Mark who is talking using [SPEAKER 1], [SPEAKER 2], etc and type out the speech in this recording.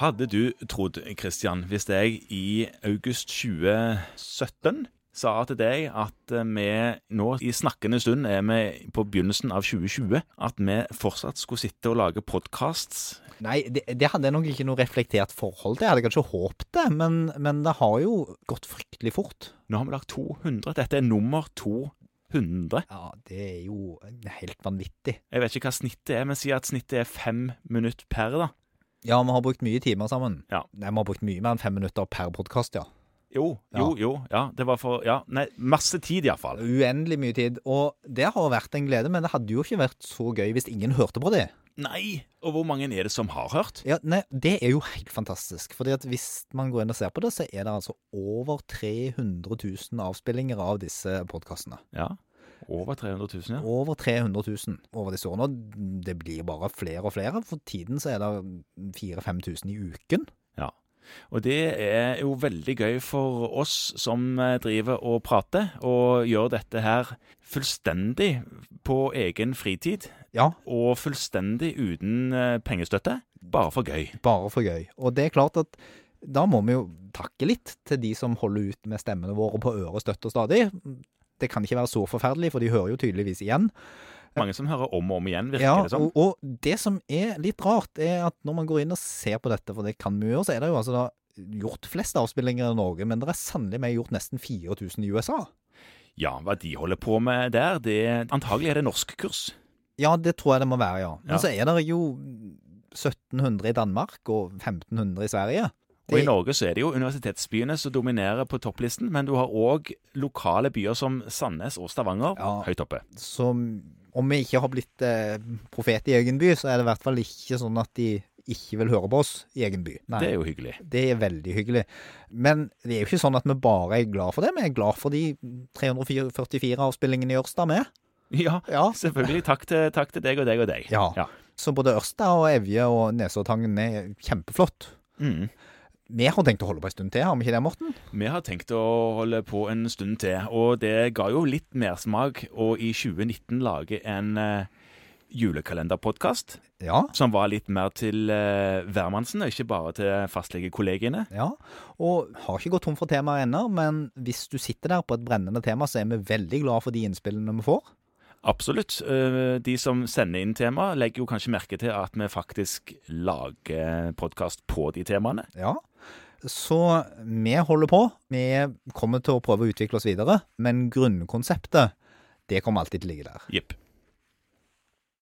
[SPEAKER 1] Hadde du trodd, Kristian, hvis jeg i august 2017 sa til deg at eh, vi nå i snakkende stund er vi på begynnelsen av 2020, at vi fortsatt skulle sitte og lage podcasts
[SPEAKER 2] Nei, det, det hadde jeg nok ikke noe reflektert forhold til. Jeg hadde kanskje håpet det, men, men det har jo gått fryktelig fort.
[SPEAKER 1] Nå har vi lagt 200. Dette er nummer 200.
[SPEAKER 2] Ja, det er jo helt vanvittig.
[SPEAKER 1] Jeg vet ikke hva snittet er, men si at snittet er fem minutter per, da.
[SPEAKER 2] Ja, vi har brukt mye timer sammen.
[SPEAKER 1] Ja.
[SPEAKER 2] Nei, vi har brukt mye mer enn fem minutter per podkast, ja.
[SPEAKER 1] Jo, jo, jo. Ja, det var for Ja, nei, masse tid iallfall.
[SPEAKER 2] Uendelig mye tid. Og det har vært en glede, men det hadde jo ikke vært så gøy hvis ingen hørte på det.
[SPEAKER 1] Nei! Og hvor mange er det som har hørt?
[SPEAKER 2] Ja, nei, Det er jo helt fantastisk. Fordi at hvis man går inn og ser på det, så er det altså over 300 000 avspillinger av disse podkastene.
[SPEAKER 1] Ja. Over 300 000, ja.
[SPEAKER 2] Over 300 000 over disse årene. og Det blir bare flere og flere. For tiden så er det 4000-5000 i uken.
[SPEAKER 1] Ja. Og det er jo veldig gøy for oss som eh, driver og prater, og gjør dette her fullstendig på egen fritid.
[SPEAKER 2] Ja,
[SPEAKER 1] Og fullstendig uten eh, pengestøtte. Bare for gøy.
[SPEAKER 2] bare for gøy. Og det er klart at da må vi jo takke litt til de som holder ut med stemmene våre på øret støtt og stadig. Det kan ikke være så forferdelig, for de hører jo tydeligvis igjen.
[SPEAKER 1] Mange som hører om og om igjen, virker
[SPEAKER 2] Ja,
[SPEAKER 1] det som.
[SPEAKER 2] og, og det som er litt rart, er at når man går inn og ser på dette, for det kan vi gjøre, så er det jo altså da gjort flest avspillinger i Norge, men det er sannelig mer gjort nesten 4000 i USA.
[SPEAKER 1] Ja, hva de holder på med der, det Antagelig er det norskkurs.
[SPEAKER 2] Ja, det tror jeg det må være, ja. Men
[SPEAKER 1] Ja.
[SPEAKER 2] så er det jo 1700 i Danmark og 1500 i Sverige.
[SPEAKER 1] Og i
[SPEAKER 2] Det-
[SPEAKER 1] Norge så er det jo universitetsbyene som dominerer på topplisten, men du har òg lokale byer som Sandnes og Stavanger
[SPEAKER 2] Ja.
[SPEAKER 1] høyt oppe.
[SPEAKER 2] Så om vi ikke har blitt eh, profet i egen by, så er det i hvert fall ikke sånn at de ikke vil høre på oss i egen by. Nei.
[SPEAKER 1] Det er jo hyggelig.
[SPEAKER 2] Det er veldig hyggelig. Men det er jo ikke sånn at vi bare er glad for det. Vi er glad for de 344 avspillingene i Ørsta med.
[SPEAKER 1] Ja,
[SPEAKER 2] Ja.
[SPEAKER 1] selvfølgelig. Takk til, takk til deg og deg og deg.
[SPEAKER 2] Ja.
[SPEAKER 1] Ja.
[SPEAKER 2] Så både Ørsta og Evje og Nesoddtangen er kjempeflott.
[SPEAKER 1] Mm.
[SPEAKER 2] Vi har tenkt å holde på en stund til, har vi ikke det, Morten?
[SPEAKER 1] Vi har tenkt å holde på en stund til, og det ga jo litt mersmak å i 2019 lage en eh, julekalenderpodkast
[SPEAKER 2] Ja.
[SPEAKER 1] som var litt mer til eh, hvermannsen, og ikke bare til fastlegekollegiene.
[SPEAKER 2] Ja, og har ikke gått tom for temaer ennå, men hvis du sitter der på et brennende tema, så er vi veldig glad for de innspillene vi får.
[SPEAKER 1] Absolutt. Eh, De som sender inn tema, legger jo kanskje merke til at vi faktisk lager podkast på de temaene.
[SPEAKER 2] Ja. Så vi holder på. Vi kommer til å prøve å utvikle oss videre, men grunnkonseptet, det kommer alltid til å ligge der.
[SPEAKER 1] Jepp.